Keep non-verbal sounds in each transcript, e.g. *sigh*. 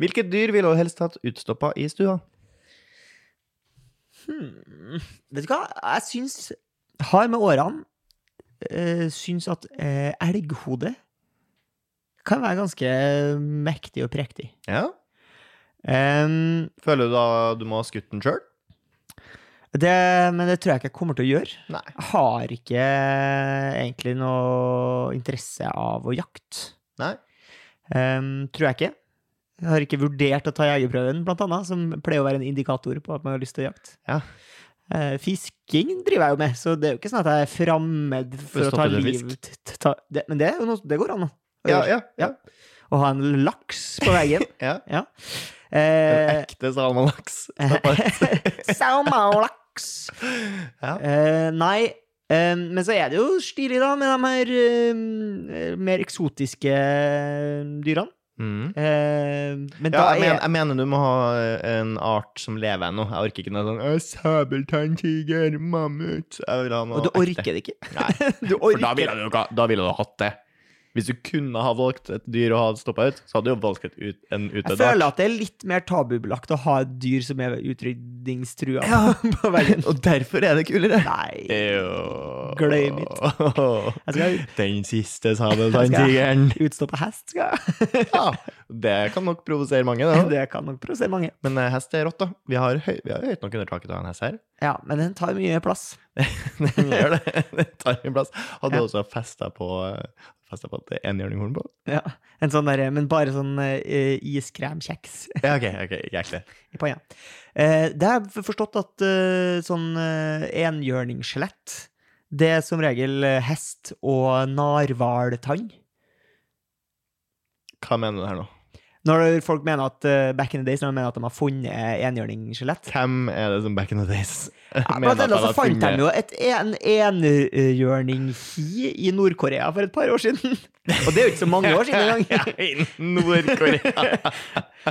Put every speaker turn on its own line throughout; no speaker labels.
Hvilket dyr ville du helst hatt utstoppa i stua?
Hmm. Vet du hva? Jeg syns Har med årene uh, syns at eh, elghode kan være ganske mektig og prektig.
Ja.
Em,
Føler du da du må ha skutt den sjøl?
det, men det tror jeg ikke jeg kommer til å gjøre.
Nei.
Jeg har ikke eh, egentlig noe interesse av å jakte.
Nei.
Em, tror jeg ikke. Jeg har ikke vurdert å ta jegerprøven, blant annet, som pleier å være en indikator på at man har lyst til å jakte.
Ja.
Eh, fisking driver jeg jo med, så det er jo ikke sånn at jeg er fremmed for
Bør
å ta
stoppe til
liv t- t- ta, det, Men det, er jo noe, det går an, da. Å
Ja,
gjøre.
ja. ja.
Å ha en laks på veggen.
*laughs* ja.
ja.
En *laughs*
Eh,
ekte salmalaks.
Salmalaks!
Ja.
Eh, nei, eh, men så er det jo stilig, da, med de her eh, mer eksotiske eh, dyrene.
Mm.
Eh,
Ja,
men da
jeg,
er
men, jeg mener du må ha eh, en art som lever ennå. Jeg orker ikke noe sånn «Å, Sabeltanntiger, mammut Jeg vil ha noe
Og du
ekte.
orker det ikke. *laughs* du
For
orker
da ville, du, jo ikke- da ville du hatt det. Hvis du kunne ha valgt et dyr å ha stoppa ut, så hadde du jo valgt et ut, en
Jeg
utdødd
føler
art.
at det er litt mer tabubelagt å ha et dyr som er utrydningstrua
Ja.
*laughs* på veggen.
*laughs* Og derfor er *laughs* det kulere.
Nei.
Jo.
Glem
*laughs*
Jeg
Den *laughs* siste sabeltanntigeren.
Utstoppe hest, skal jeg.
Ja, det kan nok provosere mange, det.
Det kan nok provosere mange.
Men eh, hest er rått, da. Vi har, høy, vi har høyt nok under taket av en hest her. *laughs*
Ja, men den tar mye plass.
Den gjør det. Den tar mye plass. Hadde
Ja.
også festa på Festa på et enhjørninghorn på.
Ja. En sånn derre, men bare sånn uh, iskremkjeks
Ja, ok, ok, jæklig.
i panna. Eh, det har jeg forstått at eh, sånn uh, enhjørningsskjelett, det er som regel eh, hest og narhvaltann.
Hva mener du her nå?
Når folk mener at eh, back in the days, når de mener at de har funnet
*laughs*
enhjørningsskjelett
Hvem er det som back in the days
Ja,
mener
Blant
at han
annet så
har
fant
funnet-
de jo et en enhjørning-hi i Nord-Korea for et par år siden. *laughs* Og det er jo ikke så mange år siden
*laughs*
engang.
I Nord-Korea.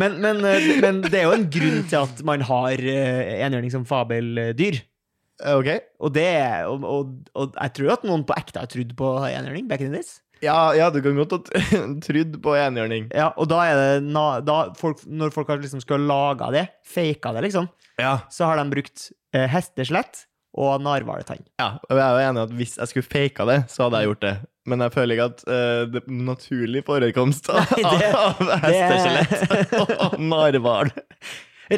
Men, men, eh, men det er jo en grunn til at man har eh, enhjørning som fabeldyr.
*laughs* ok.
Og, det, er- og, og, og jeg tror at noen på ekte har trodd på enhjørning back in the days.
Ja, ja, du kan godt ha t- *laughs* trudd på enhjørning.
Ja, og da er det na, da folk, Når folk har liksom skulle laga det, faka det, liksom,
Ja.
så har de brukt eh, hesteskjelett og narhvaletann.
ja. Og jeg er jo enig i at hvis jeg skulle faka det, så hadde jeg gjort det. Men jeg føler ikke at eh, det er naturlig forekomst av,
Nei, det-
av hesteskjelett og narhval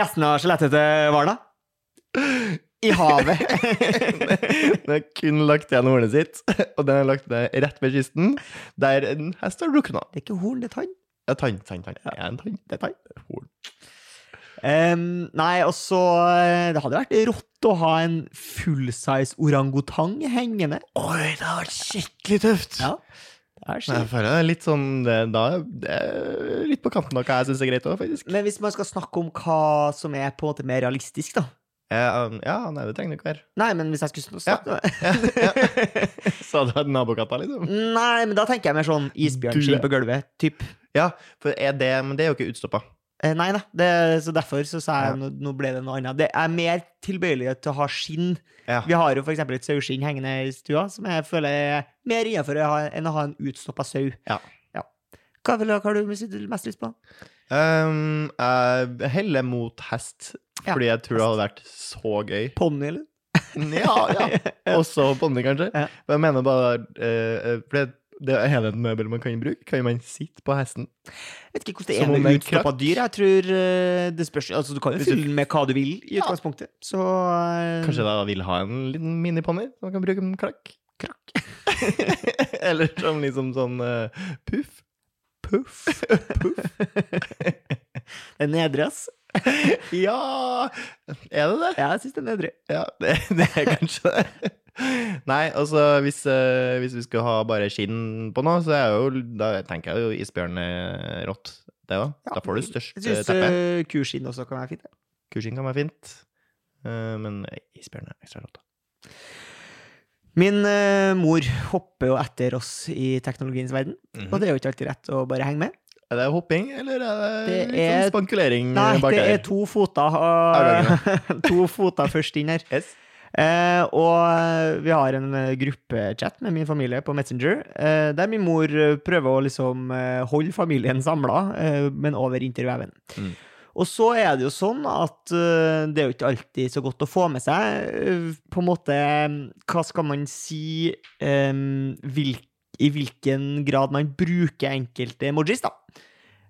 Resten av skjelettet til hvala? I havet.
Den er kun lagt igjen hornet sitt, og den er lagt ned rett ved kysten, der en hest har drukna.
Det er ikke horn, det er tann.
Ja, Tann, tann, tann. Ja, en tann.
Det er tann.
Horn.
Ehm, nei, og så eh, Det hadde vært rått å ha en fullsize orangutang hengende.
Oi, det har vært skikkelig tøft!
Ja, det er
Men jeg
skikkelig.
føler det er litt sånn det, Da det er litt på kanten av hva jeg syns er greit òg, faktisk.
Men hvis man skal snakke om hva som er på en måte mer realistisk, da
Ja, um, ja, nei, det trenger du ikke være.
Nei, men hvis jeg skulle snakke *laughs*
*laughs* Sa du at nabokatta, liksom?
Nei, men da tenker jeg mer sånn isbjørnskinn på gulvet. Typ.
Ja, for er det, men det er jo ikke utstoppa.
Eh, Nei da, det, så derfor så sa jeg nå, nå ble det noe annet. Det er mer tilbøyelig til å ha skinn.
Ja.
Vi har jo for eksempel et saueskinn hengende i stua, som jeg føler er mer innenfor å ha- enn å ha en utstoppa sau.
Ja.
Hva, vil, du- hva har du mest mest lyst på?
Um, jeg heller mot hest,
Ja,
fordi jeg tror det hadde vært så gøy.
Ponni, eller?
*laughs* Ja,
*laughs*
*laughs* ja. Også ponni, kanskje.
Ja.
Men jeg mener bare eh, For det, det er hele et møbel man kan bruke. Kan man sitte på hesten?
Jeg vet ikke hvordan det
Som
er
om
med
det er
utstoppa
krakt.
dyr. Jeg tror eh, det spørs Altså, du kan jo
Hvis du-
fylle den med hva du vil i
Ja.
utgangspunktet, så eh,
Kanskje jeg da vil ha en liten miniponni som man kan bruke som klakk? *laughs*
Krakk.
Eller som liksom sånn eh, puff. Puff.
Det er nedre, ass.
*laughs* ja Er det det?
Ja, jeg syns det er nedre.
Ja, det, *laughs* det er kanskje det. Nei, altså hvis, eh, hvis vi skulle ha bare skinn på noe, så er jo, da tenker jeg jo isbjørn er rått. Det da.
Ja.
da får du størst eh,
Jeg syns
teppe.
kuskinn også kan være fint. ja.
Kuskinn kan være fint, eh, men isbjørn er ekstra rått. da.
Min eh, mor hopper jo etter oss i teknologiens verden,
Mhm.
og det er jo ikke alltid rett å bare henge med.
Er det hopping, eller er det,
Det
litt sånn
er-
spankulering
Nei,
bak
det
her?
*laughs* er to foter, og, to foter først inn her.
Yes.
Eh, og vi har en eh, gruppechat med min familie på Messenger, eh, der min mor eh, prøver å liksom eh, holde familien samla, eh, men over interveven.
Mm.
Og så er det jo sånn at eh, det er jo ikke alltid så godt å få med seg eh, på en måte Hva skal man si eh, hvil, I hvilken grad man bruker enkelte emojis, da.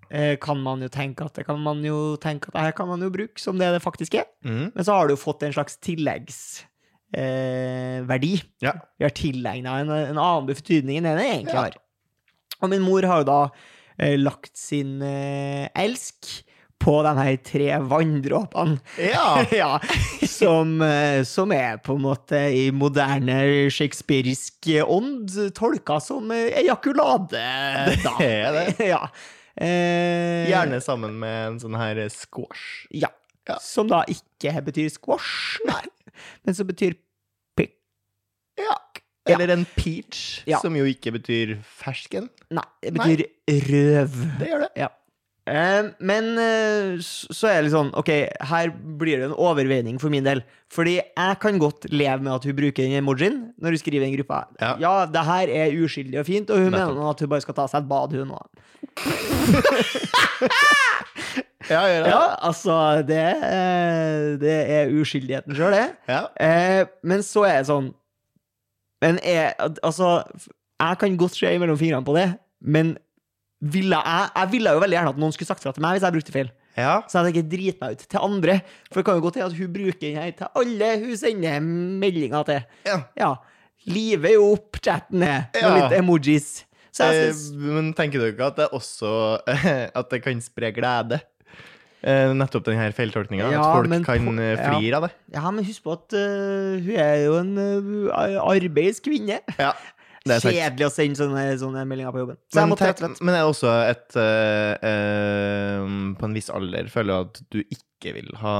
Eh, kan man jo tenke at det kan man jo tenke at det her kan man jo bruke som det det faktisk er.
Mhm.
Men så har du jo fått en slags tilleggsverdi. Eh, verdi.
Ja.
Vi har tilegna en, en annen betydning enn den jeg egentlig
Ja.
har. Og min mor har jo da eh, lagt sin eh, elsk på de her tre vanndråpene. *laughs*
Ja!
ja, som, eh, som er på en måte i moderne shakespearisk ånd tolka som eh, ejakulade, da.
Det er det.
*laughs* ja. Eh,
Gjerne sammen med en sånn her eh, squash.
ja.
Ja.
Som da ikke betyr squash, men som betyr pikk.
Ja.
Ja.
Eller en peach,
Ja.
som jo ikke betyr fersken.
Nei, det betyr røv.
Det gjør det.
Ja. Eh, Men eh, s- så er det litt sånn, ok, her blir det en overveining for min del. Fordi jeg kan godt leve med at hun bruker den emojien når hun skriver i en gruppe.
Ja.
det her er uskyldig og fint, og hun
Nettopp.
mener nå at hun bare skal ta seg et bad, hun nå.
Ja, gjør det.
Ja, altså, det, eh, det er uskyldigheten sjøl, det.
Ja.
Eh, men så er det sånn Men er, al- altså f- Jeg kan godt se mellom fingrene på det, men ville jeg, jeg ville jo veldig gjerne at noen skulle sagt fra til meg hvis jeg brukte feil.
ja.
Så jeg tenker drit meg ut til andre. For det kan jo gå til at hun bruker den her til alle hun sender meldinger til.
ja.
Ja. Livet er jo opp, chatten er. Med
Ja.
litt emojis. Så jeg
Eh,
synes
men tenker du ikke at det også *laughs* At det kan spre glede? Eh, nettopp denne feiltolkninga.
Ja,
at
men
folk kan
på-
eh,
ja.
flire av det.
Ja, men husk på at øh, hun er jo en øh, arbeidskvinne.
Ja,
*laughs*
det er sant.
Kjedelig å sende sånne, sånne meldinger på jobben. Så jeg
Men,
måtte
tenk,
rett og slett
men er det også et eh, eh, På en viss alder føler du at du ikke vil ha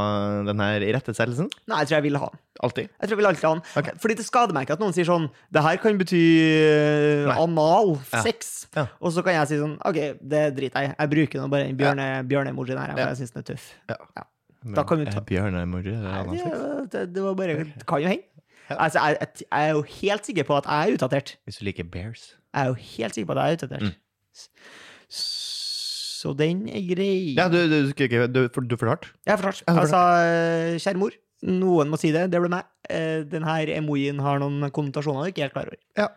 den her irettesettelsen?
Nei, jeg tror jeg ville ha den.
Alltid?
Jeg tror jeg ville alltid ha den.
Ok.
Fordi det skader meg ikke at noen sier sånn Det her kan bety øh,
Nei.
anal
Ja.
sex.
Ja.
Og så kan jeg si sånn OK, det driter jeg i. Jeg bruker nå bare den bjørne, bjørneemojien her, for
Ja.
jeg syns den er tøff.
Men
Da kan vi ta-
er Eh, Bjørnemor er det
Nei,
annet sex?
det, det, det var bare Det kan jo hende.
Ja.
Altså, jeg, jeg, jeg er jo helt sikker på at jeg er utdatert.
Hvis du liker bears.
Jeg er jo helt sikker på at jeg er utdatert.
Mm.
S- Så den er grei.
Ja, du, du, du, du, du forklarte?
Jeg er fortsatt.
Ja, det er
Altså, eh, kjære mor. Noen må si det. Det ble meg. Eh, Den her emojien har noen konnotasjoner jeg ikke er helt klar over.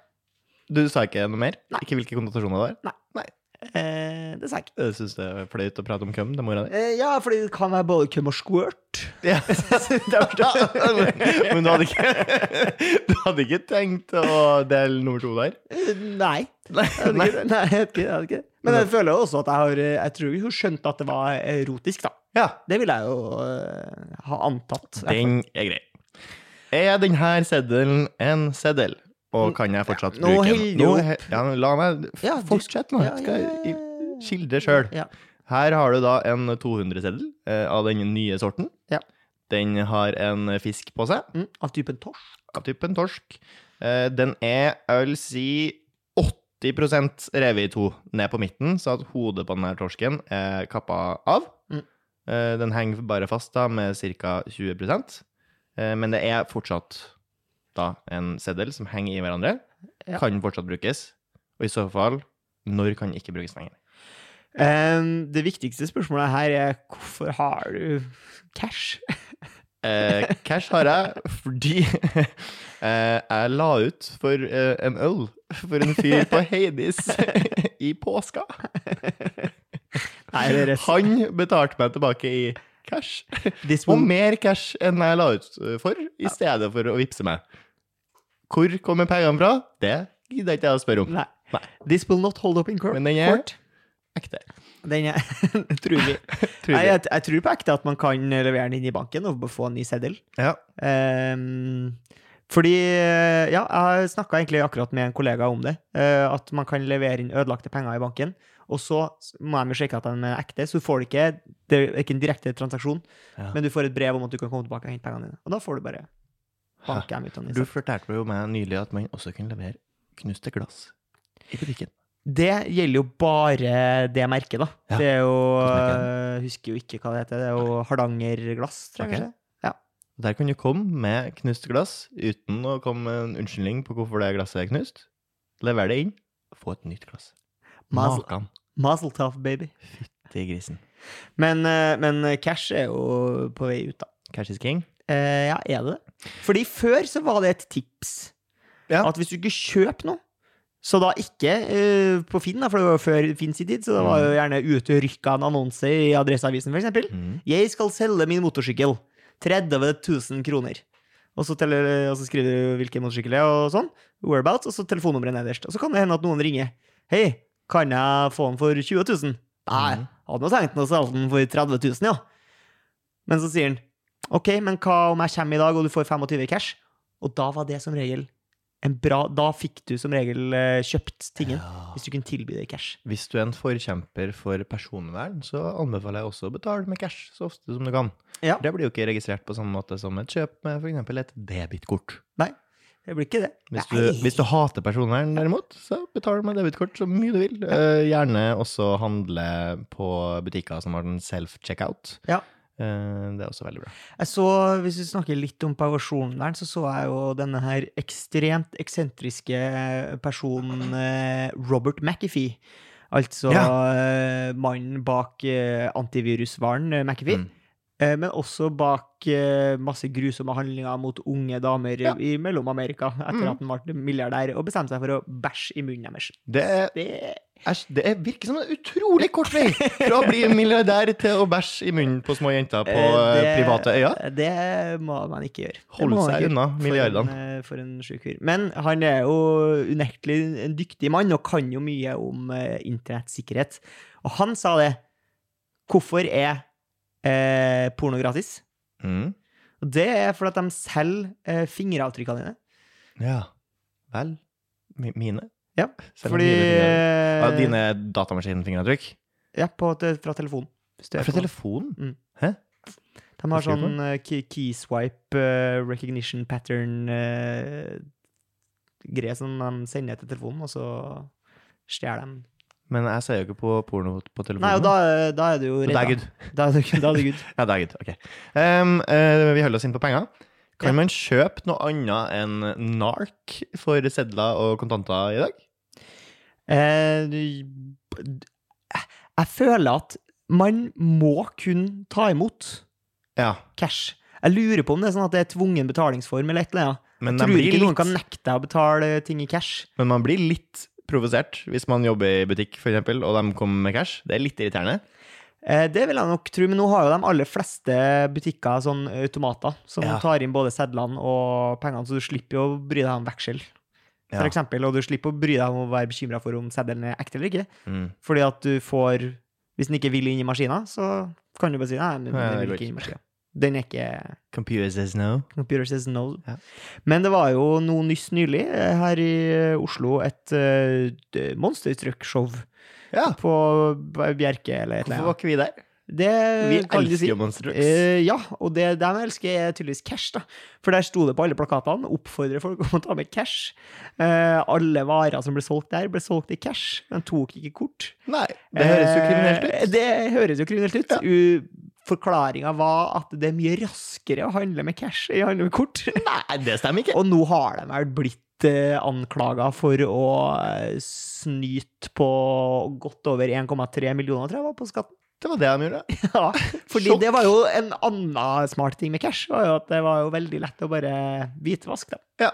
Du sa ikke noe mer?
Nei.
Ikke hvilke konnotasjoner det var?
Eh, Det sa jeg ikke.
Jeg syns det er flaut å prate om køm til mora di.
Eh, Ja, fordi det kan være både cum og squirt.
Ja.
*laughs* Det er forstått.
Men du hadde, ikke, du hadde ikke tenkt å dele nummer to der?
Eh, Nei.
Nei.
Jeg hadde ikke det. Eh, Nei, jeg hadde ikke, jeg hadde ikke. det. Men jeg føler jo også at jeg har eh, Jeg tror hun skjønte at det var erotisk, da.
Ja,
Det ville jeg jo eh, ha antatt.
den er grei. Er denne seddelen en seddel? Og kan jeg fortsatt
Ja, nå
bruke
holder
den?
du opp.
he- ja, men la meg
Ja, du-
Fortsett nå.
ja,
Skal
ja, ja,
jeg
ja.
skildre sjøl.
Ja.
Her har du da en 200-seddel eh, av den nye sorten.
Ja.
Den har en fisk på seg,
Mm, av typen torsk.
av typen torsk. Eh, Den er, jeg vil si, 80 revet i to ned på midten, så at hodet på denne torsken er kappa av.
Mm.
Eh, Den henger bare fast da med ca. 20 eh, men det er fortsatt da en seddel som henger i hverandre.
Ja.
Kan fortsatt brukes. Og i så fall, når kan ikke brukes lenger?
Em, det viktigste spørsmålet her er hvorfor har du cash?
Eh, cash har jeg fordi *laughs* eh, jeg la ut for eh, en øl for en fyr på Heidis i påska.
Nei, det er rett.
Han betalte meg tilbake i cash,
This
og
one.
mer cash enn jeg la ut eh, for, i stedet for å vippse meg. Hvor kommer pengene fra? Det gidder ikke jeg å spørre om.
Nei.
Nei.
This will not hold up in court.
Men den er-
court.
Ekte.
Den er *laughs* Trolig.
Tror
Nei,
jeg.
jeg, jeg tror på ekte at man kan levere den inn i banken og få en ny seddel.
Ja.
Em, Ehm, fordi eh, Ja, jeg snakka egentlig akkurat med en kollega om det. eh, at man kan levere inn ødelagte penger i banken. Og så må de jo sjekke at de er ekte, så du får det ikke Det er ikke en direkte transaksjon,
Ja.
men du får et brev om at du kan komme tilbake og hente pengene dine. Og da får du bare banke dem ut. av den
Du
seddelen.
fortalte jo meg nylig at man også kunne levere knuste glass i butikken.
Det gjelder jo bare det merket, da.
Ja,
Det er jo eh,
hvordan merker
Jeg husker jo ikke hva det heter. Det er jo Hardangerglass, tror jeg
Ok.
kanskje.
Og der kan du komme med knust glass uten å komme med en unnskyldning på hvorfor det glasset er knust. Lever det inn, få et nytt glass.
Mazel-
Makan
Mazel tov, baby.
til grisen.
Men, eh, men cash er jo på vei ut, da.
Cash is king.
Eh, ja, er det det? Fordi før så var det et tips.
Ja.
At hvis du ikke kjøper noe, så da ikke eh, på Finn, da, for det var jo før Finn sin tid, så det var jo gjerne utrykka en annonse i Adresseavisen, for eksempel.
Mm.
'Jeg skal selge min motorsykkel. 30 000 kroner.' Og så, teller, og så skriver du hvilken motorsykkel det er, og sånn. Whereabouts, og så telefonnummeret nederst. Og så kan det hende at noen ringer. 'Hei, kan jeg få den for 20 000?' Nei,
Mhm.
hadde nå tenkt meg å selge den for 30 000, ja. Men så sier han 'OK, men hva om jeg kommer i dag, og du får 25 i cash?' Og da var det som regel en bra Da fikk du som regel eh, kjøpt tingen.
Ja.
Hvis du kunne tilby det i cash.
Hvis du er en forkjemper for personvern, så anbefaler jeg også å betale med cash så ofte som du kan.
Ja.
Det blir jo ikke registrert på samme måte som et kjøp med f.eks. et debitkort.
Det blir ikke det.
Hvis du,
Nei.
hvis du hater personvern, derimot, så betal med debitkort så mye du vil. Eh, gjerne også handle på butikker som har den self-checkout.
Ja.
Eh, det er også veldig bra.
Jeg så, Hvis vi snakker litt om personvern, så så jeg jo denne her ekstremt eksentriske personen eh, Robert McAfee. Altså eh, mannen bak eh, antivirusvaren eh, McAfee.
Mm.
Eh, men også bak eh, masse grusomme handlinger mot unge damer
Ja.
i Mellom-Amerika etter
Mm.
at han ble milliardær og bestemte seg for å bæsje i munnen deres.
Det, er,
Det,
æsj, det er, virker som en utrolig kort vei fra å bli milliardær til å bæsje i munnen på små jenter på
Eh,
eh,
det-
private øyer.
det må man ikke gjøre. Det
Holde
må man ikke
seg
gjøre.
unna
For
milliardene.
en, eh, for en sjuk fyr. Men han er jo unektelig en dyktig mann og kan jo mye om eh, internettsikkerhet. Og han sa det. Hvorfor er eh, porno gratis?
Mm.
Og det er fordi at de selger eh, fingeravtrykkene dine.
Ja. Vel. Mi- Mine?
Ja,
Selv om
fordi
mine fingre-
eh,
Ah, Dine datamaskinfingeravtrykk?
Ja, på, te- fra telefonen. Hvis du er
Fra
på-
telefonen?
De har
Hva sier du
sånn eh, key, key swipe eh, recognition pattern eh, greie som de sender til telefonen, og så stjeler de.
Men jeg ser jo ikke på porno på telefonen.
Nei, og da, eh, da er du jo
Men
redd.
det er
da.
good.
*laughs* Da er du, da er du good.
Ja, det er good. Ok. Ehm, eh, vi holder oss inn på penger. Kan
Ja.
man kjøpe noe annet enn nark for sedler og kontanter i dag?
Eh, du- Eh, jeg føler at man må kun ta imot
Ja,
cash. Jeg lurer på om det er sånn at det er tvungen betalingsform eller et eller annet.
men,
Jeg
de
tror
blir
ikke noen kan
litt,
nekte deg å betale ting i cash.
men man blir litt provosert hvis man jobber i butikk, for eksempel, og de kommer med cash. Det er litt irriterende.
Eh, det vil jeg nok tro, men nå har jo de aller fleste butikker sånn automater som
Ja.
tar inn både sedlene og pengene, så du slipper jo å bry deg om veksel, for
Ja.
eksempel. Og du slipper å bry deg om å være bekymra for om seddelen er ekte eller ikke.
Mm.
Fordi at du får Hvis den ikke vil inn i maskina, så kan du bare si nei, men
Nei,
den
det
vil
går
ikke inn i
ikke.
maskina. Den er ikke
Computer says no.
Computer says no.
Ja.
Men det var jo noe nyss nylig eh, her i eh, Oslo, et eh, d- monstertruck-show
Ja,
på B- Bjerke eller et
hvorfor
eller
var
annet.
ikke vi der?
Det
Vi
kan du si.
elsker jo Monster Trucks.
Eh, ja, og det de elsker, er tydeligvis cash, da. For der sto det på alle plakatene. Oppfordrer folk om å ta med cash. Eh, alle varer som ble solgt der, ble solgt i cash. De tok ikke kort.
Nei, det høres jo kriminelt
Eh,
ut.
Det høres jo kriminelt ut.
Ja.
U- Forklaringa var at det er mye raskere å handle med cash enn å handle med
*laughs*
kort.
Nei, det stemmer ikke.
Og nå har de vel blitt eh, anklaga for å eh, snyte på godt over 1,3 millioner, tror jeg var, på skatten.
Det var det de gjorde.
Ja, fordi
Sjokk.
det var jo en annen smart ting med cash, var jo at det var jo veldig lett å bare hvitvaske dem.
Ja.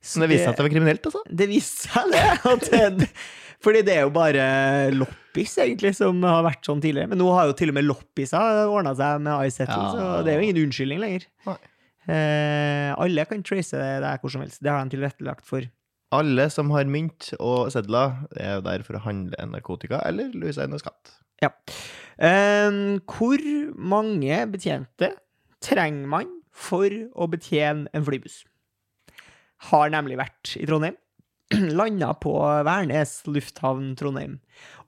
Så det viste seg at det var kriminelt, altså.
Det viste seg det. At
*laughs*
det fordi det er jo bare loppis, egentlig, som har vært sånn tidligere. Men nå har jo til og med loppisa ordna seg med iSettle,
Ja.
så det er jo ingen unnskyldning lenger.
Nei.
Eh, alle kan trace det der hvor som helst. Det har de tilrettelagt for.
Alle som har mynt og sedler, er jo der for å handle narkotika eller lue seg inn i skatt.
Eh, hvor mange betjente trenger man for å betjene en flybuss? Har nemlig vært i Trondheim. *clears throat* Landa på Værnes lufthavn Trondheim.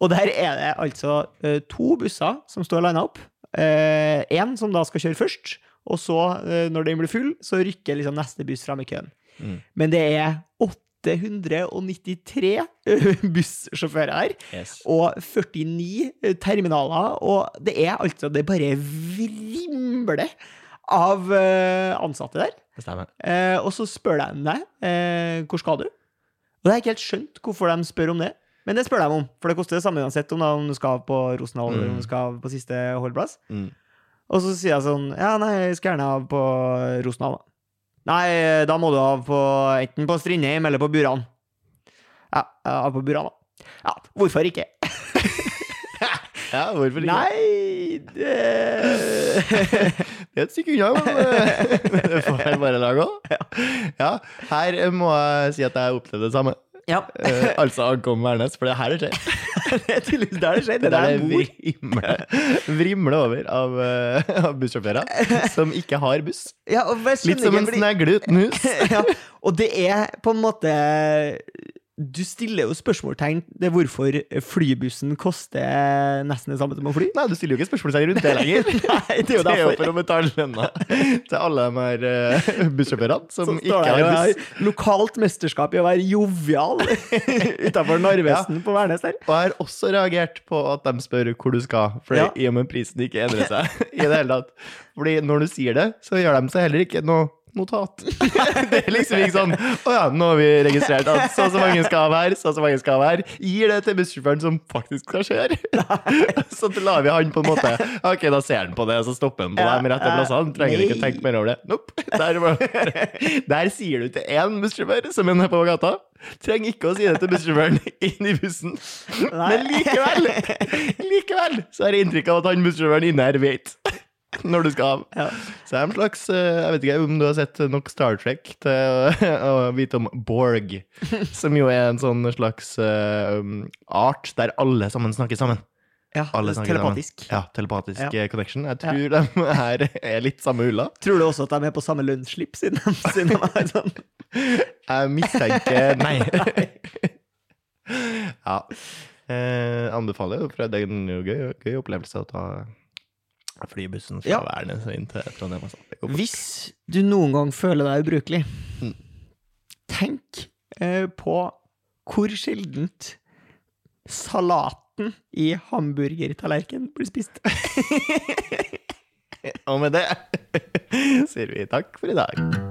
Og der er det altså eh, to busser som står landa opp. Én som da skal kjøre først, og så, eh, når den blir full, så rykker liksom neste buss fram i køen.
Mm.
Men det er 893 *laughs* bussjåfører her og eh, 49 terminaler, og det er altså Det bare vrimler av eh, ansatte der.
Det stemmer.
Eh, og så spør de deg eh, hvor skal du? Og det er ikke helt skjønt hvorfor de spør om det, men det spør de om. For det koster det samme uansett om, da, om du skal på Rosendal eller
Mm.
om du skal på siste holdplass.
Mm.
Og så sier jeg sånn Ja, nei, jeg skal gjerne av på Rosendal, da. Nei, eh, da må du av på enten på Strindheim eller på Buran. Ja, jeg er av på Buran, da. Ja, hvorfor ikke?
Ja, hvorfor ikke?
Nei, det
Det er et stykke unna, men men det *laughs* får jeg bare lage òg. Ja, her må jeg si at jeg opplevde det samme.
*laughs* Ja,
Eh,
*laughs*
altså Ankom Værnes, for det er her det skjer.
det er tydeligvis der det skjer. Det er der
der
jeg bor.
vrimler, vrimler over av, eh, av bussjåfører som ikke har buss.
Ja, og jeg
Litt
skjønner
som en
ikke, fordi-
snegle uten hus.
*laughs* ja, og det er på en måte Du stiller jo spørsmålstegn til hvorfor flybussen koster nesten det samme som å *laughs* fly.
Nei, du stiller jo ikke spørsmålstegn rundt det lenger.
Nei, *laughs* det er jo
Det er jo
derfor.
for å betale lønna *laughs* til alle de her eh, bussjåførene som
Som
ikke
står der
har
og
buss.
har lokalt mesterskap i å være *laughs* jovial utafor Narvesen på Værnes der.
Og jeg har også reagert på at de spør hvor du skal, fordi,
Ja.
i og med prisen ikke endrer seg
*laughs*
i det hele tatt. Fordi når du sier det, så gjør de seg heller ikke noe
*laughs*
notat. Det er liksom ikke sånn Å ja, nå har vi registrert at så og så mange skal av her, så og så mange skal av her. Gir det til bussjåføren som faktisk skal kjøre. *laughs* Så lar vi han på en måte Ok, da ser han på det, så stopper han på
Ja,
de rette
ja.
plassene. Trenger ikke
Nei.
tenke mer over det. Nope. *laughs* Der, var- *laughs* der sier du til én bussjåfør som er nede på gata. Trenger ikke å si det til bussjåføren *laughs* inn i bussen.
Nei.
Men likevel, likevel så har jeg inntrykk av at han bussjåføren inne her vet *laughs* når du skal av.
Ja.
Så det er en slags eh, Jeg vet ikke om du har sett nok Star Trek til å, *laughs* å vite om Borg, som jo er en sånn slags eh, um, art der alle sammen snakker sammen.
Ja,
Alle snakker
telepatisk.
Ja, telepatisk
Ja.
eh, connection. Jeg tror de *laughs* her er litt samme ulla.
Tror du også at de er på samme lønnsslipp, siden de, siden de er sånn?
Jeg mistenker Nei. *laughs* ja. Eh, anbefaler jo, for det er en gøy, gøy opplevelse å ta flybussen fra
Ja.
Værnes inn til Trondheim. Altså. Det går fort.
Hvis du noen gang føler deg ubrukelig,
Mm.
tenk eh, på hvor sjeldent salaten i hamburgertallerken blir spist.
*laughs* Og med det sier vi takk for i dag.